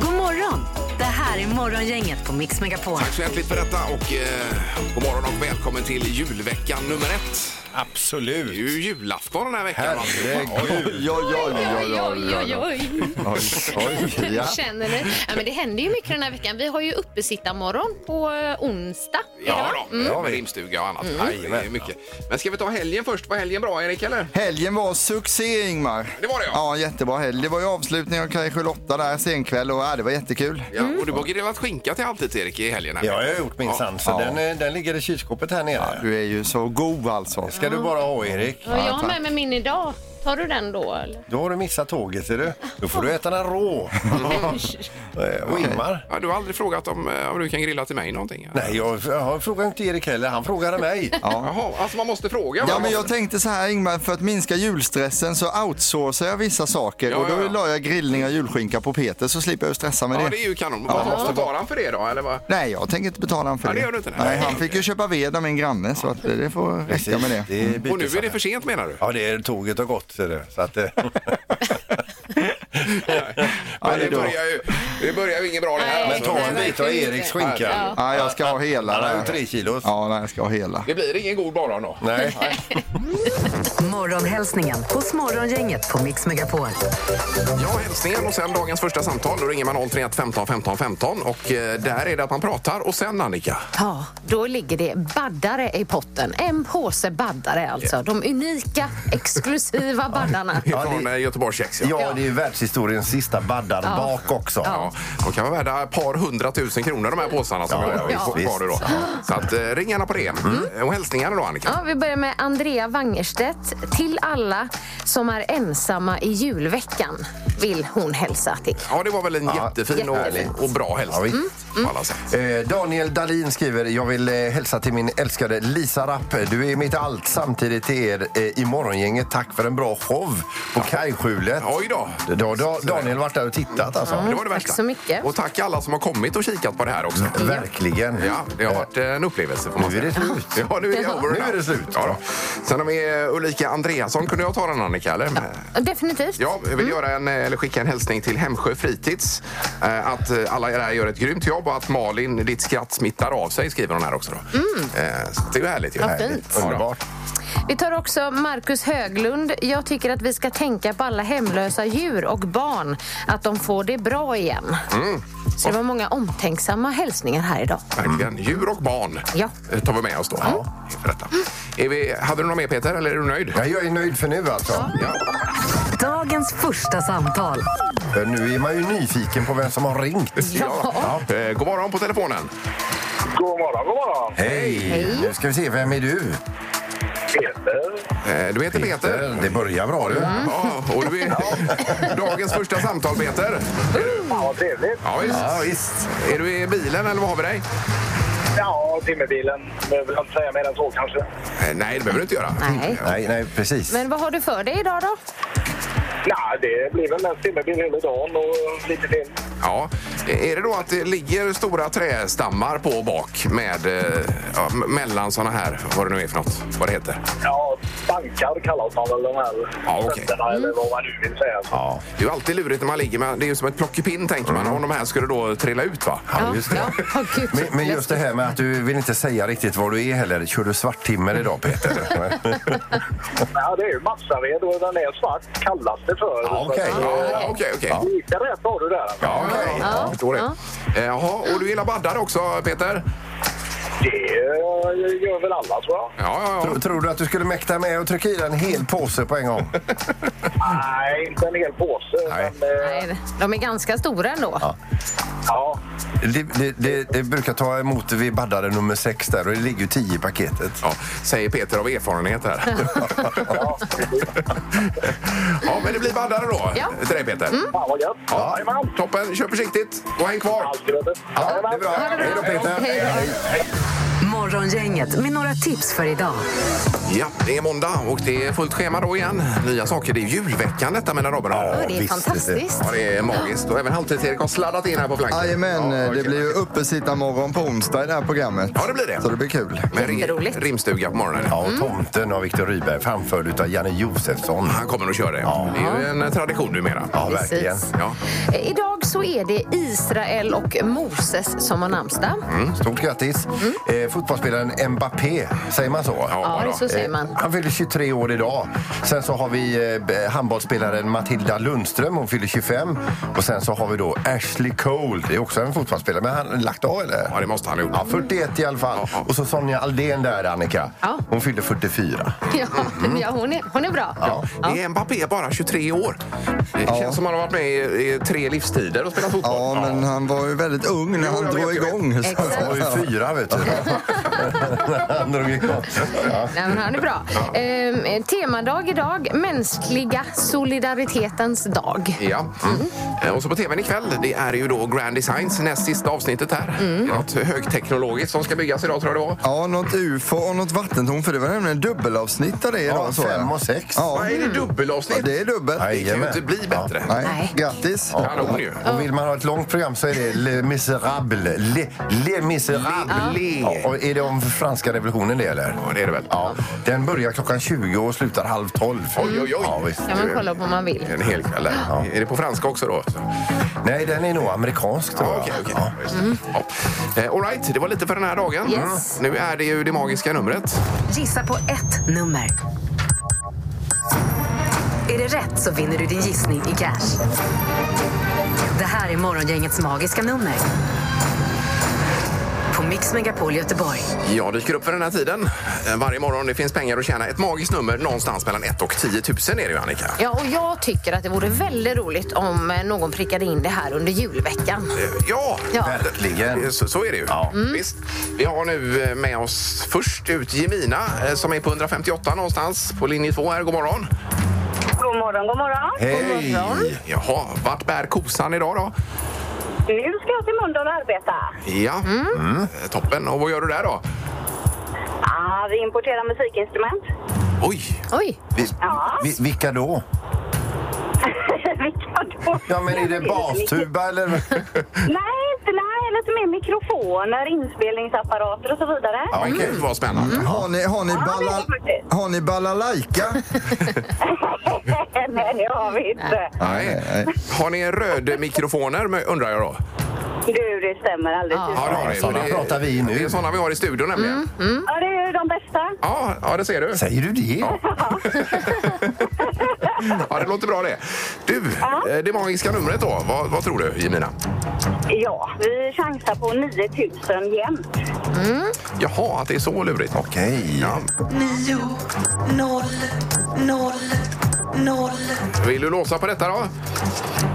God morgon! Det här är Morgongänget på Mix Megapol. Tack så hjärtligt för detta och eh, god morgon och välkommen till julveckan nummer ett. Det är Absolut. ju julafton den här veckan. Herregud. Oj, oj, oj, Oj, oj, oj, oj. oj, oj, ja. Mm, Känner du? Ja, men det händer ju mycket den här veckan. Vi har ju uppesittarmorgon på eh, onsdag. Ja, idag. då. Mm. Med rimstuga och annat. Mm. Det är mycket. Men ska vi ta helgen först? Var helgen bra, Erik? Eller? Helgen var succé, Ingmar. Det var det, ja. ja. jättebra helg. Det var ju avslutning av Kaj 8 där senkväll och ja, det var jättekul. Ja, Och du har grillat skinka till alltid, Erik, i helgen. Här. Det har jag gjort minsann, så Ja. den, eh, den ligger i kylskåpet här nere. Du är ju så god alltså. Ska du bara ha, Erik? Ja, jag har tack. med mig min idag. Tar du den då? Eller? Då har du missat tåget, ser du. Då får du äta den rå. Eh, Och Ingmar? Ja, du har aldrig frågat om, eh, om du kan grilla till mig någonting? Nej, jag, jag frågar inte Erik heller. Han frågade mig. Jaha, alltså man måste fråga. Ja, va? men jag tänkte så här Ingmar, för att minska julstressen så outsourcar jag vissa saker Ja, och då ja, ja. la jag grillning av julskinka på Peter så slipper jag ju stressa med Ja, det. det är ju kanon. Vad måste betala han för det då? Eller vad? Nej, jag tänker inte betala honom för Ja, det det. gör du inte, nej. nej. han fick ju köpa ved av min granne så att eh, det får räcka med det. är Och nu är det för sent menar du? Ja, det är, tåget har gått, ser du. Så att, eh, Men det det är då. börjar ju, det börjar ju inget bra det här. Nej. men Alltså. ta en bit av Eriks skinka. Ja, jag ska ha hela. Han har där. ju tre kilos. Ja, nej, jag ska ha hela. Det blir ingen god morgon då. Nej. Morgonhälsningen hos Morgongänget på Mix Megapol. Ja, hälsningen och sen dagens första samtal. Då ringer man 031 15 15 15 och eh, där är det att man pratar. Och sen Annika. Ja, då ligger det baddare i potten. En påse baddare alltså. De unika, exklusiva baddarna. Från det... Göteborgs Kex. Ja. Ja, det är världshistoriens sista baddarbak också. Ja, de kan vara värda ett par hundratusen kronor de här påsarna som Ja, vi har ja, ja, kvar visst. nu då. Så att, eh, ring gärna på det. Eh, Och hälsningar då Annika. Ja, vi börjar med Andrea Wangerstedt. Till alla som är ensamma i julveckan vill hon hälsa till. Ja, det var väl en jättefin jättefint. och, och bra hälsning. Mm, På alla sätt. Eh, Daniel Dalin skriver, jag vill eh, hälsa till min älskade Lisa Rapp. Du är mitt allt samtidigt till er eh, i morgongänget. Tack för en bra show på kajskjulet. Oj då. Då har da, Daniel varit där och tittat alltså. Det var det Tack värsta. så mycket. Och tack alla som har kommit och kikat på det här också. Verkligen. Ja, det har varit en upplevelse får man Nu är det säga. slut. Ja, nu är det over. Nu är det slut. Ja, då. Sen har vi eh, Ulrika Andreasson. Kunde jag ta den Annika? Eller? Definitivt. Ja, jag vill göra en, eh, eller skicka en hälsning till Hemsjö Fritids. Eh, Att eh, alla er här gör ett grymt jobb och att Malin, ditt skratt smittar av sig, skriver hon här också. Då. Eh, så Det är ju härligt. Ju. Vad fint. Ja, då. Underbart. Vi tar också Marcus Höglund. Jag tycker att vi ska tänka på alla hemlösa djur och barn. Att de får det bra igen. Mm. Så det var många omtänksamma hälsningar här idag. Verkligen. Djur och barn Ja. eh, tar vi med oss då. Ja, inför detta. Är vi, hade du något mer Peter, eller är du nöjd? Ja, jag är nöjd för nu alltså. Ja. Dagens första samtal. För Eh, Nu är man ju nyfiken på vem som har ringt. Ja. Eh, God morgon på telefonen. God morgon, god morgon. Hej. Nu ska vi se, vem är du? Peter. Eh, Du heter Peter. Mm. Det börjar bra du. Ja, och du är dagens första samtal, Peter. Ja, vad trevligt. Ja, visst. Ja, visst. Är du i bilen eller vad har vi dig? Ja, timmerbilen. Behöver väl inte säga mer än så kanske. Eh, Nej, det behöver du inte göra. Nej. Nej, nej, precis. Men vad har du för dig idag då? Nej, det blir väl en timmerbil hela dagen och lite till. Ja. Eh, Är det då att det ligger stora trästammar på och bak med, eh, ja, m- mellan såna här, vad det nu är för något, vad det heter? Ja, bankar kallas man väl de här Ja, okej. sätterna, eller vad man nu vill säga. Mm. Ja, Mm. Det är ju alltid lurigt när man ligger med, det är ju som ett plockepinn tänker man, om de här skulle då trilla ut va? ja, just det. Ja, gud. Men, men just det här med att du vill inte säga riktigt var du är heller. Kör du svarttimmer idag Peter? Ja, det är ju massaved och den är svart kallas det för. Ja, okej. Så att, eh, Ja, okej, okej. Lite rätt har du där. Ja, okej. Jag förstår det. Eh, Jaha, och du gillar baddar också, Peter? Det eh, gör väl alla, tror jag. Ja, ja, ja. Tror, tror du att du skulle mäkta med att trycka i dig en hel påse på en gång? Nej, inte en hel påse. Mm. Nej. Men, eh, Nej, de är ganska stora ändå. ja. Det, det, det, det brukar ta emot vid baddare nummer sex där och det ligger ju tio i paketet. Ja, säger Peter av erfarenhet här. ja, men det blir baddare då Ja. till dig Peter. Mm. Fan vad gött. Ja, Jajamän. toppen, kör försiktigt och häng kvar. Allt i rätt. Ja, det är bra. Ha det bra. Hej då Peter. Hej då. Morgongänget med några tips för idag. Ja, det är måndag och det är fullt schema då igen. Nya saker. Det är julveckan detta mina Robin. Ja, Det är visst, fantastiskt. Ja, det är magiskt. Och även Halvtids-Erik har sladdat in här på flanken. Jajamän, Ja, okej. det blir ju uppesittarmorgon på onsdag i det här programmet. Ja, det blir det. Så det blir kul. Men rim- Jätteroligt. rimstuga på morgonen. Ja, och tomten av Viktor Rydberg framförd av Janne Josefsson. Han kommer att köra det. Det är ju en eh, tradition numera. Ja, verkligen. Precis. Ja. Eh, Idag så är det Israel och Moses som har namnsdag. Mm, Stort grattis. Mm. Eh, fotbollsspelaren Mbappé, säger man så? Ja, Ja, då. så säger man. Han fyller 23 år idag. Sen så har vi eh, b- handbollsspelaren Matilda Lundström, hon fyller 25. Och sen så har vi då Ashley Cole, det är också en fotbollsspelare. Men han har lagt av eller? Ja, det måste han ha gjort. Ja, 41 i alla fall. Ja. Och så Sonja Aldén där, Annika. Ja. Hon fyllde 44. Ja, Mm. ja hon, är, hon är bra. Det är Mbappé bara 23 år. Det känns som han har varit med i, i tre livstider och spelat fotboll. Ja, men han var ju väldigt ung när Jo, han jag drog vet, jag vet. igång. Så- Exakt. Han var ju fyra, vet du. Han drog igång. Ja. Nej, men han är bra. Ehm, Eh, temadag idag, mänskliga solidaritetens dag. Ja. Eh, Och så på tvn ikväll, det är ju då Grand Designs näst sista avsnittet här. Det är något högteknologiskt som ska byggas idag tror jag det var. Ja, något ufo och något vattentorn, för det var nämligen dubbelavsnitt av det idag. så fem jag. och sex. Ja, Vad är det ja, dubbelavsnitt? det är dubbelt. Det kan ju Jajamän. inte bli bättre. Nej. Nej, grattis. Kanon ju. Och vill man ha ett långt program så är det Le Miserable. Le, Le Miserable. Le- Ja, och är det om franska revolutionen det eller? Ja, det är det väl. Ja, den börjar klockan 20 och slutar halv 12. Oj, oj, oj. Ja, visst. kan man kolla på om man vill. En hel kväll. där. Är det på franska också då? Så. Nej, den är nog amerikansk tror Ja, jag. okej, okej. Ja. Just det. Ja. Eh, All right, det var lite för den här dagen. Yes. Nu är det ju det magiska numret. Gissa på ett nummer. Är det rätt så vinner du din gissning i cash. Det här är Morgongängets magiska nummer. På Mix Megapol Göteborg. Jag dyker upp för den här tiden eh, varje morgon. Det finns pengar att tjäna. Ett magiskt nummer någonstans mellan 1 och 10 000 är det ju, Annika. Ja, och jag tycker att det vore väldigt roligt om eh, någon prickade in det här under julveckan. Eh, Ja, Ja. Verkligen. Eh, Så, så är det ju. Mm. Visst. Vi har nu eh, med oss först ut Jemina eh, som är på 158 någonstans på linje 2 här. God morgon. God morgon, god morgon. Hej! Jaha, vart bär kosan idag då? Nu ska jag till Mölndal och arbeta. Mm. Ja, Eh, toppen. Och vad gör du där då? Ah, vi importerar musikinstrument. Oj, Oj, Vi, Ja. vi, vilka då? Vilka då? Ja, men är det bastuba eller? Nej, inte nej. Lite mer mikrofoner, inspelningsapparater och så vidare. ja, men Mm. gud vad spännande. Har ni, har ni, Ja, det är balla, faktiskt. har ni balalaika? Nej, det har vi inte. Nej. Har ni röd mikrofoner med- undrar jag då? Du, det stämmer alldeles Ja. ja. det har ni. sådana Det är- pratar vi i nu. Det är sådana vi har i studion nämligen. Mm. ja, det är ju de bästa. Ja, ja, det ser du. Säger du det? Ja, det låter bra det. Du, Ja. eh, det magiska numret då. Vad, vad tror du, Jemina? Ja, vi chansar på 9000 jämt. Jaha, att det är så lurigt. Okej. Ja. Vill du låsa på detta då?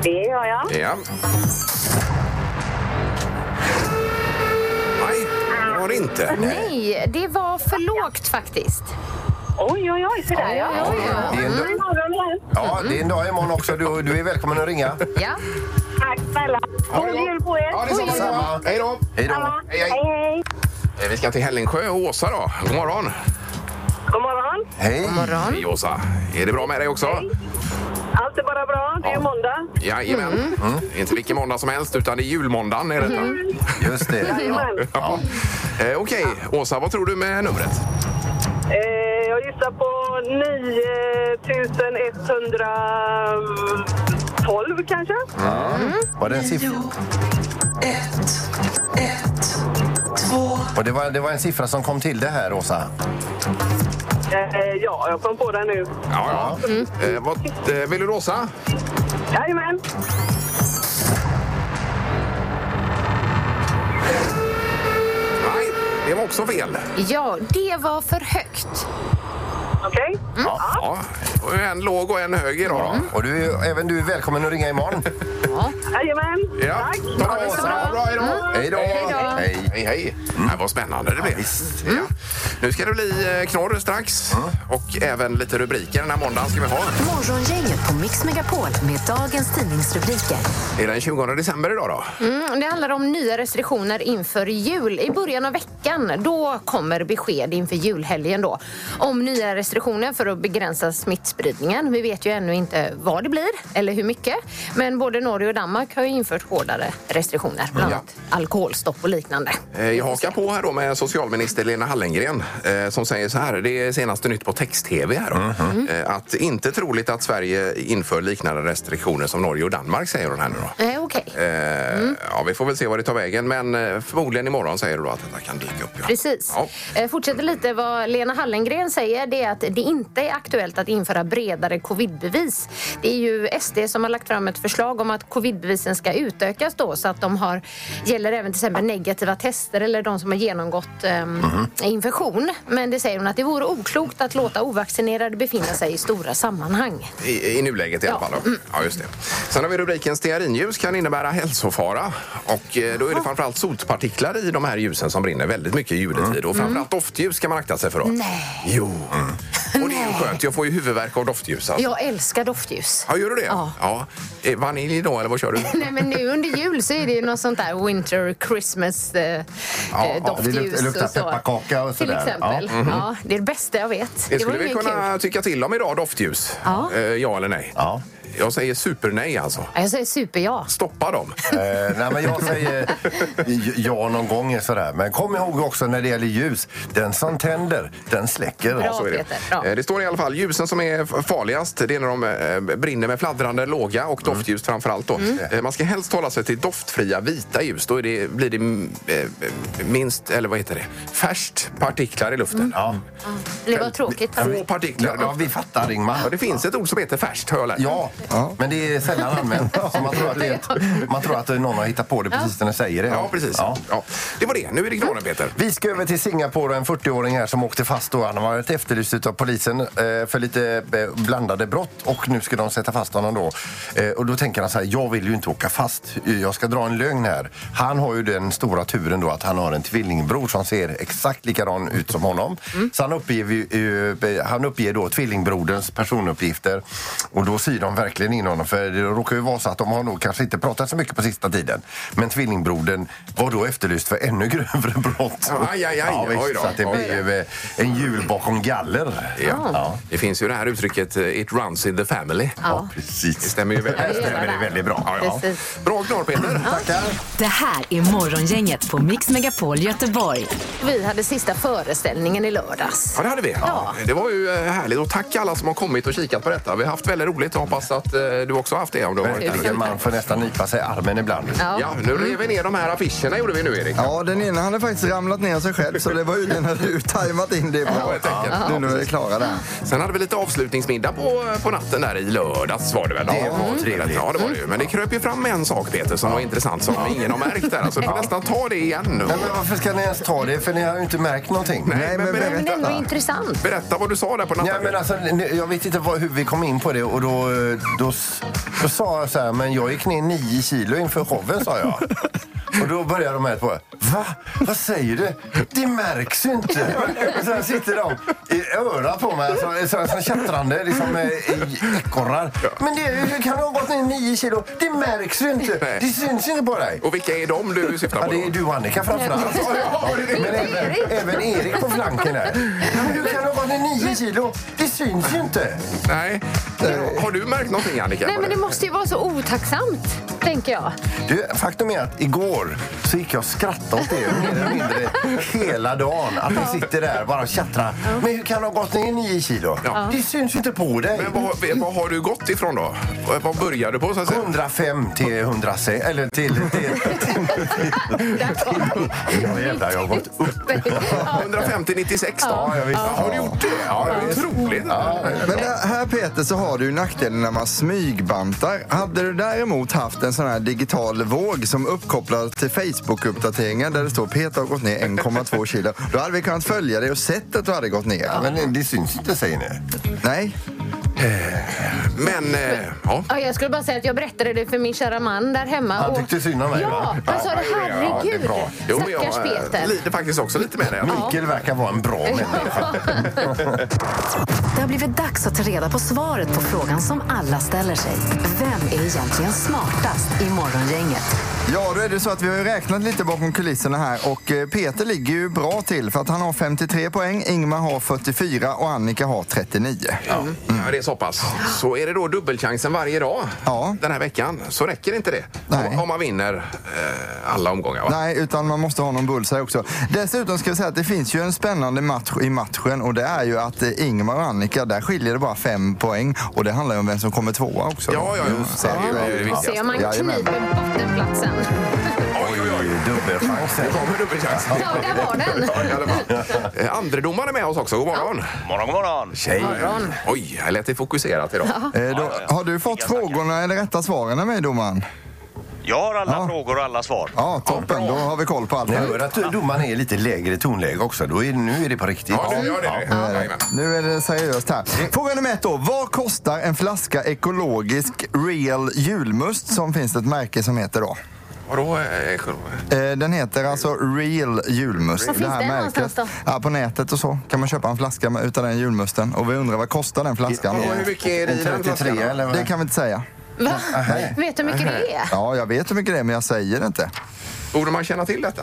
Det gör jag. Ja. Nej, det var det inte. nej, det var för lågt faktiskt. Oj, oj, oj. Sådär, ja. Mm. Oj, oj, oj. Det är en God dag, morgon igen. ja, det är en dag imorgon också. Du, du är välkommen att ringa. Ja. Tack snälla. Ha God det gott. jul på er. Ja, det är samma. Detsamma. Hej då. Hej då. Ja, Hej, hej, hej. hej. Eh, Vi ska till Hällingsjö och Åsa då. God morgon. God morgon. Hej. Morgon. Hej Åsa. Är det bra med dig också? Allt är bara bra. Det är ju måndag. Jajamän. Mm. Inte vilken måndag som helst, utan det är julmåndagen. Är detta. Mm. Just det. Jajamän. Ja. Eh, Okej, Åsa, vad tror du med numret? Eh, jag gissar på 9112 kanske? Var det en siffra? Och det, var, det var en siffra som kom till det här, Åsa. Eh, ja, jag kom på den nu. Ja, ja. Eh, vad, eh, vill du låsa? Jajamän! Nej, det var också fel. Ja, det var för högt. Okej. Ja. Mm. Och En låg och en hög idag då. Och du, är- även du är välkommen att ringa imorgon. Jajamän. Ja. Tack. Ta det så bra. Bra, hej då. Hej då! Hej, hej. hej. Nej, vad spännande det blev. Ja. Nu ska det bli eh, knorr strax och även lite rubriker den här måndagen ska vi ha. Morgongänget på Mix Megapol med dagens tidningsrubriker. Är det den 20 december idag då? Mm, det handlar om nya restriktioner inför jul. I början av veckan då kommer besked inför julhelgen då, om nya restriktioner för att begränsa smittspridningen. Vi vet ju ännu inte vad det blir eller hur mycket. Men både Norge och Danmark har ju infört hårdare restriktioner, bland Ja. annat alkoholstopp och liknande. Eh, Jag hakar på här då med socialminister Lena Hallengren eh, som säger så här, det är senaste nytt på text-tv här då, Eh, att inte troligt att Sverige inför liknande restriktioner som Norge och Danmark säger hon här nu då. Eh, Okej. Eh, Ja, vi får väl se vad det tar vägen, men eh, förmodligen imorgon säger du då att detta kan dyka upp. Ja. Precis. Ja. Eh, Fortsätter lite vad Lena Hallengren säger. Det är att det inte är aktuellt att införa bredare covidbevis. Det är ju SD som har lagt fram ett förslag om att covidbevisen ska utökas då så att de har, gäller även till exempel negativa tester eller de som har genomgått ehm, Mhm. infektion. Men det säger hon att det vore oklokt att låta ovaccinerade befinna sig i stora sammanhang. I, I nuläget i alla fall. Då. Mm. Ja, just det. Sen har vi rubriken stearinljus kan innebära hälsofara. Och eh, då är det framförallt sotpartiklar i de här ljusen som brinner väldigt mycket i Mm. juletid. Och framförallt doftljus ska man akta sig för då. Nej. Jo. Mm. Och det är ju skönt. Jag får ju huvudvärk av doftljus. Alltså. Jag älskar doftljus. Ja, gör du det? Ja. Eh, Vanilj då, eller vad kör du? Nej, men nu under jul så är det ju något sånt där winter Christmas eh, Ja, eh, ja, doftljus. det luktar- luktar och så. pepparkaka och Till sådär. mhm. exempel. Ja. det är det bästa jag vet. Det var skulle vi ju kunna kul. tycka till om idag, doftljus. Ja. Eh, ja eller nej? Ja. Jag säger supernej alltså. Ja, Jag säger superja. Stoppa dem. Eh, nej, men jag säger j- ja någon gång är sådär. Men kom ihåg också när det gäller ljus. Den som tänder, den släcker. Bra. Ja, så är det. Peter. Bra. Eh, Det står i alla fall ljusen som är f- farligast det är när de eh, brinner med fladdrande låga och Mm. doftljus framför allt. Då. Eh, Man ska helst hålla sig till doftfria vita ljus. Då är det, blir det mm, eh, minst, eller vad heter det, färskt partiklar i luften. Mm. Ja. Det var tråkigt. Få partiklar i Ja, luften. vi fattar Ingmar. Ja, det finns ett ord som heter färskt, har jag lärt mig. Ja, men det är sällan använt. Så man, tror att det är ett, man tror att någon har hittat på det precis när den säger det. Ja, precis. Ja. Ja. Det var det. Nu är det knorren, Peter. Vi ska över till Singapore och en 40-åring här som åkte fast då. Han har varit efterlyst utav polisen eh, för lite eh, blandade brott och nu ska de sätta fast honom då. Eh, Och då tänker han så här, jag vill ju inte åka fast. Jag ska dra en lögn här. Han har ju den stora turen då att han har en tvillingbror som ser exakt likadan ut som honom. Så han uppger, ju- eh, han uppger då tvillingbroderns personuppgifter och då syr de verkligen in honom för det råkar ju vara så att de har nog kanske inte pratat så mycket på sista tiden. Men tvillingbrodern var då efterlyst för ännu grövre brott. Aj, aj, aj. Ja, visst, Oj då. så att det Oj. blir ju eh, en jul bakom galler. Ja. Det finns ju det här uttrycket eh, It runs in the family. Ja. Det Precis. stämmer ju väldigt, Ja, det gör stämmer det. det väldigt bra. Ja, ja. Precis. Bra knorr, Peter. Tackar. Det här är Morgongänget på Mix Megapol Göteborg. Vi hade sista föreställningen i lördags. Ja, det hade vi. Ja. Det var ju eh, härligt. Och tack alla som har kommit och kikat på detta. Vi har haft väldigt roligt. Jag hoppas att eh, du också har haft det. Om du har varit där. Verkligen, man får nästan nypa sig i armen ibland. Ja, nu rev vi ner de här affischerna gjorde vi nu, Erik. Ja, den ena hade faktiskt ramlat ner sig själv så det var ju den hade ju tajmat in det var bra. ett tecken. Nu, nu är vi klara där. Sen hade vi lite avslutningsmiddag på, eh, på natten där i lördags var det väl? Det var trevligt. Ja, det var det ju. Men det kröp ju fram en sak, Peter, som var intressant som ingen har märkt där. Alltså, du får nästan ta det igen nu. Nej, men varför ska ni ens ta det? För ni har ju inte märkt någonting. Nej, men Men berätta. ändå intressant. Berätta vad du sa där på Nej, natten. men alltså, nu- jag vet inte vad, hur vi kom in på det och då, eh, då, s- då sa jag så här, men jag gick ner nio kilo inför showen sa jag. Och då började de här på. Va? Vad säger du? Det märks ju inte. Och sen sitter de i örat på mig som så, så kättrande liksom, eh, i ekorrar. Men det, hur kan du ha gått ner nio kilo? Det märks ju inte. Nej. Det syns inte på dig. Och vilka är de du syftar på? Ja, det då? är du och Annika framförallt. Men även, även Erik på flanken här. Ja, men hur kan du ha gått ner nio kilo? Det syns ju inte. Nej. Har du märkt någonting, Annika? Nej, men det måste ju vara så otacksamt, tänker jag. Du, faktum är att igår så gick jag och skrattade åt det mer eller mindre hela dagen. Att vi sitter där bara och tjattrar. Men hur kan du ha gått ner 9 kilo? Ja. Det syns ju inte på dig. Men vad, vad har du gått ifrån då? Vad- Vad började du på? Så att säga? 105 till 106, eller till... till, till, till. Ja, jävlar, jag har gått upp. 150 96 då? Ja, jag visste. Har du gjort det? Ja, det är otroligt. Men där- här Peter så har du ju nackdelen när man smygbantar. Hade du däremot haft en sån här digital våg som uppkopplar till Facebook-uppdateringar där det står Peter har gått ner 1,2 kilo. Då hade vi kunnat följa dig och sett att du hade gått ner. Men det syns inte säger ni. Nej. Men, eh, ja. Ja, jag skulle bara säga att jag berättade det för min kära man där hemma. Han tyckte synd om mig, Ja, va? han sa det. Ja, det är Herregud. bra. Jo, men jag Stackars eh, Peter. lider faktiskt också lite med det. Mikael verkar vara en bra människa. Det har blivit dags att ta reda på svaret på frågan som alla ställer sig. Vem är egentligen smartast i Morgongänget? Ja, då är det så att vi har ju räknat lite bakom kulisserna här och eh, Peter ligger ju bra till för att han har 53 poäng, Ingmar har 44 och Annika har 39. Ja, Mm. ja, det är så pass. Så är det då dubbelchansen varje dag Ja. den här veckan så räcker inte det. Nej. Om, om man vinner eh, alla omgångar. Va? Nej, utan man måste ha någon bullseye också. Dessutom ska vi säga att det finns ju en spännande match i matchen och det är ju att eh, Ingmar och Annika, där skiljer det bara fem poäng och det handlar ju om vem som kommer tvåa också. Ja, ja, ja. Så att, Det är ju det Se viktigaste. om man Jajamän. kniper bottenplatsen. Oj, oj, oj. Dubbelchansen. Nu kommer dubbelchansen. Ja, där var den. Ja, i alla fall. Eh, Andredomaren är med oss också. God morgon. Morgon, god morgon. Tjej. Oj, här lät det fokuserat idag. eh, då, har du fått frågorna eller rätta svaren av mig domaren? Jag har alla Ja. frågor och alla svar. Ja, toppen. då har vi koll på allt. Ni hör att domaren är lite lägre i tonläge också. Då är, nu är det på riktigt. Ja, du gör det. du. Jajamän. Mm. Nu är det seriöst här. Fråga nummer ett då. Vad kostar en flaska ekologisk real julmust som finns ett märke som heter då? Vadå? eh, själv- Eh, Den heter alltså Real julmust. Var finns den någonstans då? Ja, på nätet och så kan man köpa en flaska med, utan den julmusten. Och vi undrar vad kostar den flaskan? Ja, hur mycket är det i den 33 flaskan? då? eller? vad? Det kan vi inte säga. Va? Vet du hur mycket det är? Ja, jag vet hur mycket det är men jag säger det inte. Borde man känna till detta?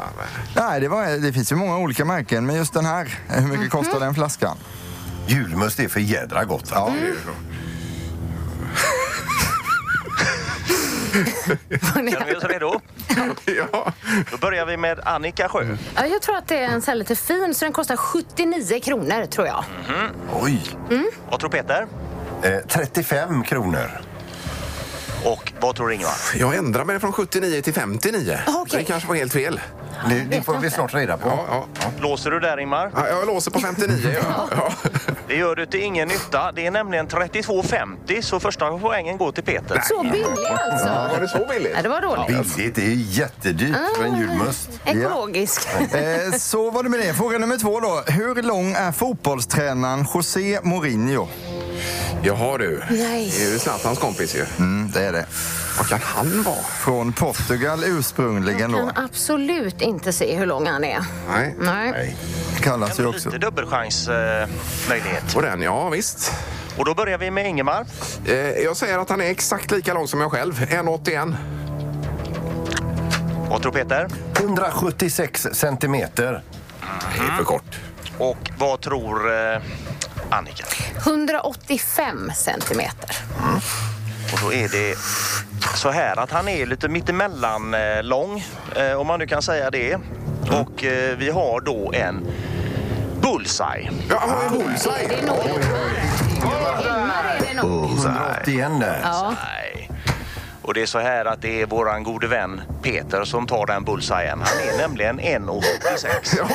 Nej, det, var, det finns ju många olika märken men just den här. Hur mycket Mhm. kostar den flaskan? Julmust är för jädra gott. Ja. Känner vi oss redo? Ja. Då börjar vi med Annika Sjö. Ja, jag tror att det är en sån här lite fin, så den kostar 79 kronor tror jag. Oj. Vad tror Peter? Eh, 35 kronor. Och vad tror Ingvar? Jag ändrar mig från 79 till 59. Ah, okej. Det kanske var helt fel. Det, det får vi snart reda på. Ja, ja. Låser du där Ingmar? Ja, Jag låser på 59. Ja. Ja. Det gör du till ingen nytta. Det är nämligen 32,50 så första poängen går till Peter. Så billig alltså. Var det så billigt? Ja, det var dåligt. Billigt, det är ju jättedyrt för en julmust. Ekologisk. Eh, så var det med det. Fråga nummer två då. Hur lång är fotbollstränaren José Mourinho? Jaha du. Nej. Det är ju Zlatans kompis ju. Mm, det är det. Vad kan han vara? Från Portugal ursprungligen då. Kan absolut inte se hur lång han är. Nej. Nej. Kallas ju Ändå också. Lite dubbelchansmöjlighet. Och den, ja visst. Och då börjar vi med Ingemar. Eh, jag säger att han är exakt lika lång som jag själv. 1,81. Vad tror Peter? 176 centimeter. Det är för kort. Och vad tror eh, Annika? 185 centimeter. Mm. Och då är det så här att han är lite mittemellan eh, lång, eh, om man nu kan säga det. Mm. Och eh, vi har då en bullseye. Ja, han har ju bullseye. Det är nog Ingmar. Ingmar är det nog. 181 där. Ja. Nej. Och det är så här att det är våran gode vän Peter som tar den bullseyen. Han är nämligen 1,86. Oj,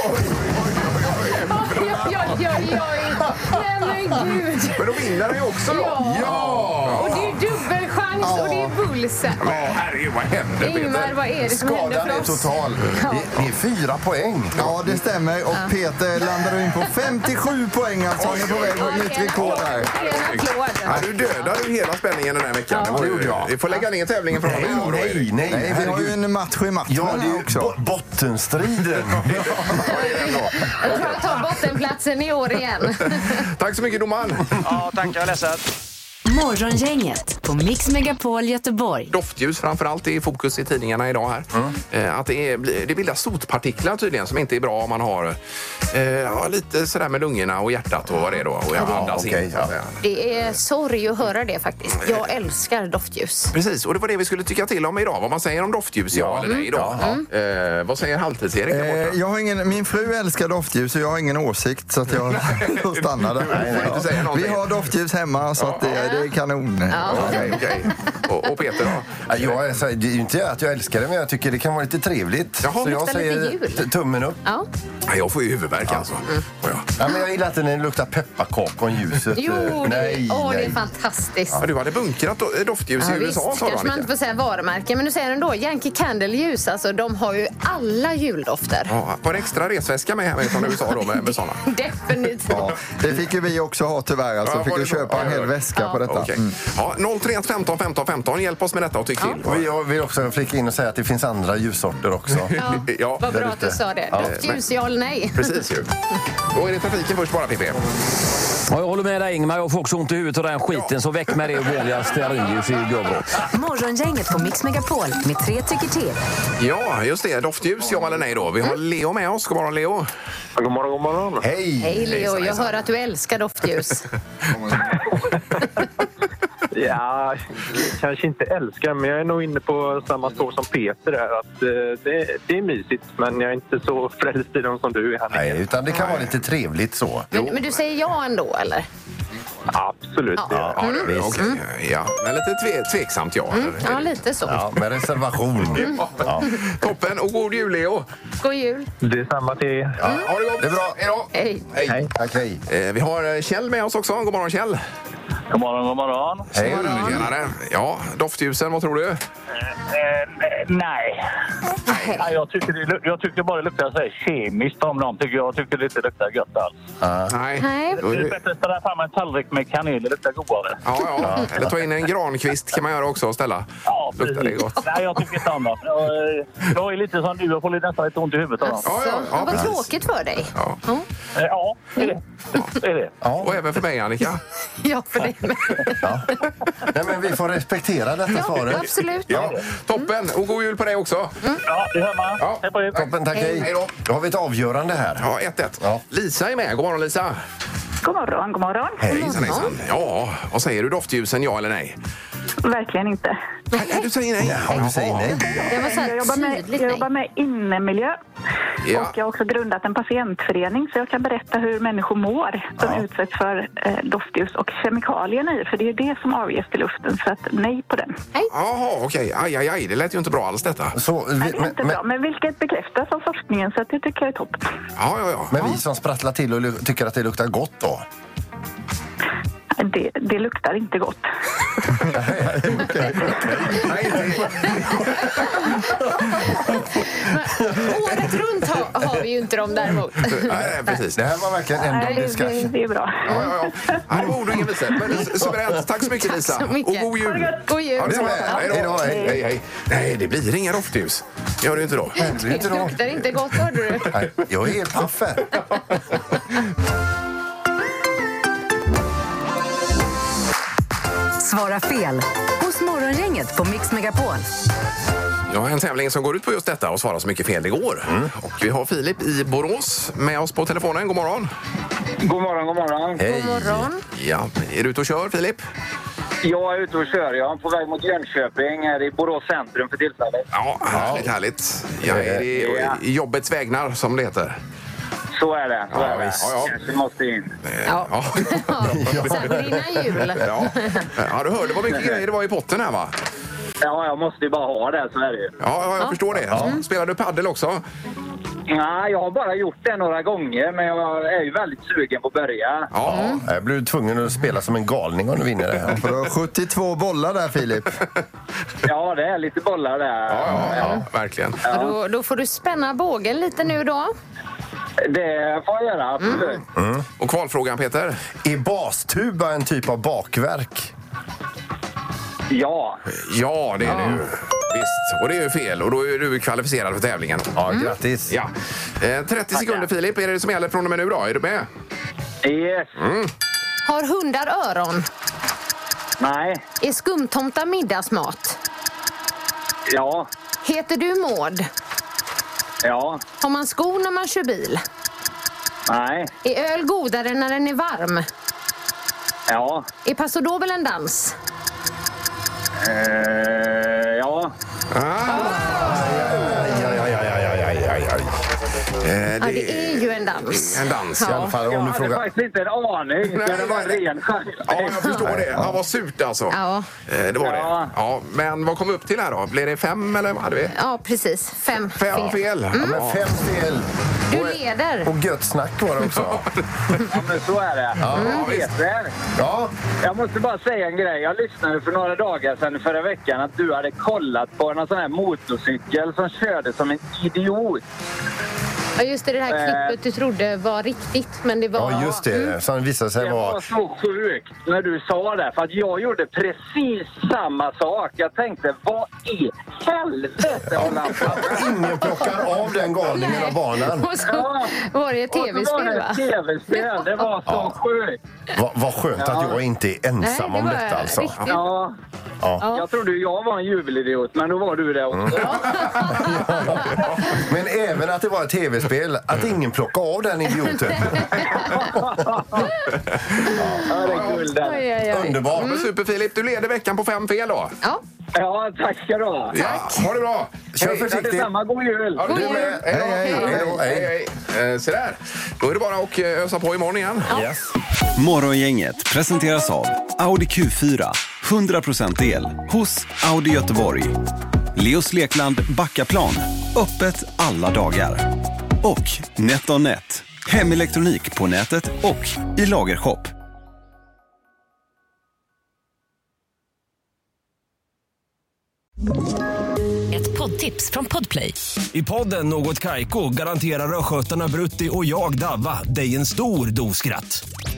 oj, oj, oj. Nej men gud. Men då vinner han ju också då. Ja. Ja! Och det är dubbelchans och det är bullse. Men herregud, vad händer Ingmar, Peter? vad är det som händer Skadan för är oss? total. Det, det är fyra poäng. Ja, det stämmer. Och Peter landar in på 57 poäng. Alltså han är på väg mot nytt rekord där. Det är en Ja, applåd. du dödade ju hela spänningen den här veckan. det ju- gjorde jag. Vi får lägga ner tävlingen från och med idag då, Erik. Nej, nej, Nej, vi har ju herregud. en match i matchen Ja, det är här ju också. bo- bottenstriden. Jag tror han tar bottenplatsen i år igen. Tack så mycket domaren. Ja, tack. Jag är ledsen. Morgongänget på Mix Megapol Göteborg. Doftljus framför allt är i fokus i tidningarna idag här. Eh, Att det, är, det bildas sotpartiklar tydligen som inte är bra om man har eh, ja, lite sådär med lungorna och hjärtat och vad det är då. Och jag andas okej, in, så att ja. säga. Det är sorg att höra det faktiskt. Jag älskar doftljus. Precis, och det var det vi skulle tycka till om idag. Vad man säger om doftljus, ja, eller nej då. Mm. Eh, vad säger halvtids-Erik där borta? Eh, jag har ingen, min fru älskar doftljus och jag har har ingen åsikt så att jag stannar där. Du får inte säga någonting. Vi har doftljus hemma så att det, det är kanon. Okej, okej. Och, och Peter då? Ja, Jag är, så, det är ju inte att jag älskar det, men jag tycker det kan vara lite trevligt. så jag Luktar lite säger jul. t- tummen upp. Ja. Nej, Jag får ju huvudvärk alltså. Och jag- Ja, men jag gillar inte när det luktar pepparkakor om ljuset. Jo, Eh, nej, det, åh, det är nej. fantastiskt. Ja, du hade bunkrat do- doftljus i USA visst, sa du kanske man inte Annika. får säga varumärke, men du säger ändå Yankee Candle-ljus, alltså de har ju alla juldofter. Ja, var det extra resväska med hem från USA då med, med sådana? Definitivt. Ja, det fick ju vi också ha tyvärr. Alltså, Ja, fick var ju det så? köpa en Ja, hel ja. väska på detta. Okej. Mm. Ja, 031 15 15 15. Hjälp oss med detta och tyck till. Och jag vill också flika in och säga att det finns andra ljussorter också. Ja, Ja, Vad bra där att du ute. sa det. Ja, Doftljus, ja eller nej? precis ju. Då är det trafiken först bara, Pippi. Ja, jag håller med dig Ingmar, jag får också ont i huvudet av den skiten. Så väck med det vanliga stearinljus i gubbrått. Morgongänget på Mix Megapol med tre tycker till. Ja, just det. Doftljus, ja eller nej då. Vi Mm. har Leo med oss. God morgon, Leo. God morgon, god morgon. Hej! Hej Leo, jag hör att du älskar doftljus. Ja, kanske inte älskar, men jag är nog inne på samma spår som Peter. Där, att, eh, det, det är mysigt, men jag är inte så frälst i dem som du är. Här. Nej, utan det kan vara lite trevligt så. Men, men du säger ja ändå, eller? Absolut. Ja, Ja, det, visst. Mm. okej. Ja, men lite tve, tveksamt ja. Mm. Ja, lite så. Ja, med Mm. reservation. Ja. Toppen och god jul Leo! God jul. Detsamma till er. Ja, ha det gott! Det är bra. Hej då! Hej. Hej! Tack, hej! Eh, Vi har eh, Kjell med oss också. God morgon Kjell! God morgon, god morgon. Hej! Tjenare! Ja, doftljusen, vad tror du? Eh, nej. nej jag, tycker det, lu- jag tycker bara det luktar så här kemiskt om någon. Tycker jag tycker det inte luktar gött alls. Nej. Nej. Då är Det är det- bättre att ställa fram en tallrik med kanel. Det luktar godare. Ja, ja. Eller ta in en grankvist kan man göra också och ställa. Ja, Luktar det gott? Nej, jag tycker inte om dem. Jag, eh, jag är lite som du. Jag får lite- nästan lite ont i huvudet av dem. Alltså, ja, vad precis. tråkigt för dig. Ja. Eh, Ja, det är det. det, är det. Och även för mig Annika. Ja, för dig med. Nej, men vi får respektera detta Ja, svaret. absolut. Ja, toppen! Och god jul på dig också! Ja, det hör man. Ja. Hej på er. Toppen, tack, Hej. hej! då. Då har vi ett avgörande här. Ja, 1-1. Ja. Lisa är med. God morgon Lisa! God morgon, god morgon. Hejsan, hejsan. Ja, vad säger du? Doftljusen, ja eller nej? Verkligen inte. Nej, du säger nej. Ja, du säger nej. Det var så Jag här jobbar med, tydligt jag jobbar nej. med innemiljö. Ja. Och jag har också grundat en patientförening så jag kan berätta hur människor mår som utsätts för eh, doftljus och kemikalierna i. För det är det som avges till luften. Så att nej på den. Jaha, okej. Aj, aj, aj. Det lät ju inte bra alls detta. Så, vi, Nej, det är men, inte men, bra, men vilket bekräftas av forskningen så att det tycker jag är toppen. Ja, ja, ja. men vi som sprattlar till och lu- tycker att det luktar gott då? Det, det luktar inte gott. Nej, inte- Året runt har, har vi ju inte dem däremot. nej, nej, precis. Det här var verkligen en Nej, av det, det, discussion. det är bra. Ja, ja, ja. Nej, det var ord och ingen vise. Men suveränt. Tack så mycket, Lisa. så mycket. Och god jul. God jul. Ja, det är Ja. hej, Hej då. då, hej. hej, hej. Nej, det blir inga doftljus. Gör det ju inte då. Det luktar inte gott, hörde du. Nej, Jag är helt paff här. Svara fel hos Morgongänget på Mix Megapol. Ja, en tävling som går ut på just detta och svara så mycket fel det går. Och vi har Filip i Borås med oss på telefonen. God morgon. God morgon, god morgon. Hej! Morgon. Ja, är du ute och kör, Filip? Jag är ute och kör. Jag är på väg mot Jönköping här i Borås centrum för tillfället. Ja, härligt, härligt. Ja, är det Ja. i jobbets vägnar, som det heter? Så är det. Så Ja, är det. visst. Ja, ja. Kanske måste in. Ja. Så här går innan jul. Ja. ja, du hörde vad mycket grejer det var i potten här, va? Ja, jag måste ju bara ha det. Så är det ju. Ja, ja jag förstår det. Mm. Spelar du paddel också? Nej, jag har bara gjort det några gånger, men jag är ju väldigt sugen på att börja. Ja. Jag blir tvungen att spela som en galning om du vinner det här. För du har 72 bollar där Filip. Ja, det är lite bollar där. Ja, ja, ja, verkligen. Och Då, då får du spänna bågen lite nu då. Det får jag göra, absolut. Och kvalfrågan, Peter? Är bastuba en typ av bakverk? Ja. Ja, det är det ju. Visst, och det är ju fel. Och då är du kvalificerad för tävlingen. Ja, grattis. Ja. Eh, 30 sekunder, Filip. Är det det som gäller från och med nu? Då? Är du med? Yes. Har hundar öron? Nej. Är skumtomtar middagsmat? Ja. Heter du Maud? Ja. Har man skor när man kör bil? Nej. Är öl godare när den är varm? Ja. Är Paso Doble en dans? Eh, ja. Eh, Ah. Aj, aj, aj, aj, aj, aj, aj, aj. Eh, Ja, det är ju en dans. En dans, i alla fall. Jag Om du hade frågar. faktiskt inte en aning. Nej, men det var en nej. ren chans. Ja, jag förstår det. Ja, vad surt alltså. Ja. Eh, Det var det. Ja, men vad kom vi upp till här då? Blev det fem eller vad hade vi? Ja, precis. Fem, Fem fel. Mm. Ja. fel. Du leder. Och gött snack var det också. Ja, men så är det. Ja, Mm. visst. Peter, Ja. jag måste bara säga en grej. Jag lyssnade för några dagar sedan förra veckan att du hade kollat på en sån här motorcykel som körde som en idiot. Ja, just det, det här klippet du trodde var riktigt, men det var... Ja, just det. Som visade sig Det var vara... så sjukt när du sa det, för att jag gjorde precis samma sak. Jag tänkte, vad i helvete håller han på med? Ingen plockar av den galningen av banan. Och så var det ett Och så var tv-spel, det va? ett tv-spel. Det var så sjukt. Va- Vad skönt att Ja. jag inte är ensam Nej, det om var detta alltså. riktigt. Ja. Ja. Jag trodde ju jag var en jubelidiot, men då var du det också. Men även att det var ett tv-spel, att ingen plockade av den idioten. Oj, oj, oj. Underbart. Men super Filip, du leder veckan på fem fel då. Ja. Ja, tack ska du ha. Ja, ha det bra! Kör försiktigt. Detsamma, god jul! Ja, du med. Hej, då. Hej, hej. Hej, då. hej, hej. Eh, Se där, då är det bara att eh, ösa på imorgon igen. Morgongänget presenteras av Audi Q4. 100% el hos Audi Göteborg. Leos Lekland Backaplan. Öppet alla dagar. Och NetOnNet. Hemelektronik på nätet och i lagershop. Ett poddtips från Podplay. I podden Något Kaiko garanterar östgötarna Brutti och jag, Davva, dig en stor dos skratt.